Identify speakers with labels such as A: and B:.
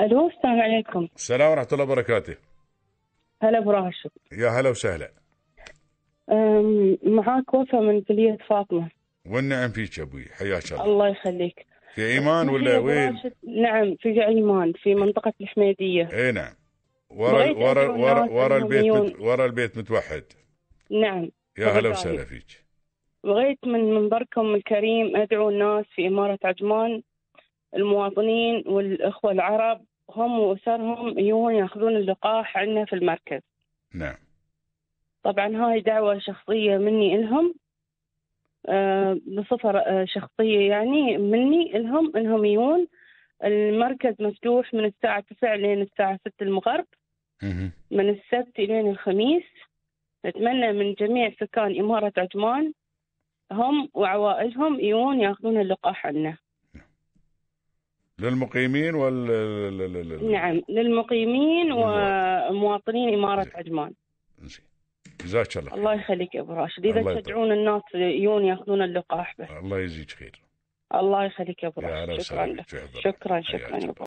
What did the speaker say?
A: الو السلام عليكم
B: السلام ورحمة الله وبركاته
A: هلا ابو راشد
B: يا هلا وسهلا
A: أم، معاك وفاء من بلية فاطمة
B: والنعم فيك يا ابوي حياك الله
A: الله يخليك
B: في ايمان
A: أخوي
B: ولا
A: أبو
B: وين؟
A: راشد، نعم في ايمان في منطقة الحميدية
B: اي نعم ورا
A: بغيت
B: ورا
A: أدعو الناس
B: ورا ورا البيت
A: المؤمنون.
B: مت... ورا البيت متوحد
A: نعم
B: يا هلا
A: بالضبط.
B: وسهلا فيك
A: بغيت من منبركم الكريم ادعو الناس في امارة عجمان المواطنين والاخوة العرب هم واسرهم يجون ياخذون اللقاح عندنا في المركز
B: نعم
A: طبعا هاي دعوة شخصية مني إلهم آه، بصفة آه، شخصية يعني مني إلهم إنهم يجون المركز مفتوح من الساعة 9 لين الساعة 6 المغرب
B: مهم.
A: من السبت لين الخميس نتمنى من جميع سكان إمارة عجمان هم وعوائلهم يجون ياخذون اللقاح عنا
B: للمقيمين وال ال- ال- ال-
A: نعم للمقيمين ومواطنين إمارة عجمان
B: زين. جزاك الله
A: الله
B: الله,
A: يخليك يا أبو راشد إذا
B: الله يطول.
A: تشجعون الناس يجون ياخذون اللقاح بس
B: الله يجزيك خير
A: الله يخليك يا ابو
B: يا هلا
A: راشد شكرا
B: وسهلا
A: لك
B: فيك في حضرتك.
A: شكرا
B: حياك
A: شكرا يا
B: الله.
A: ابو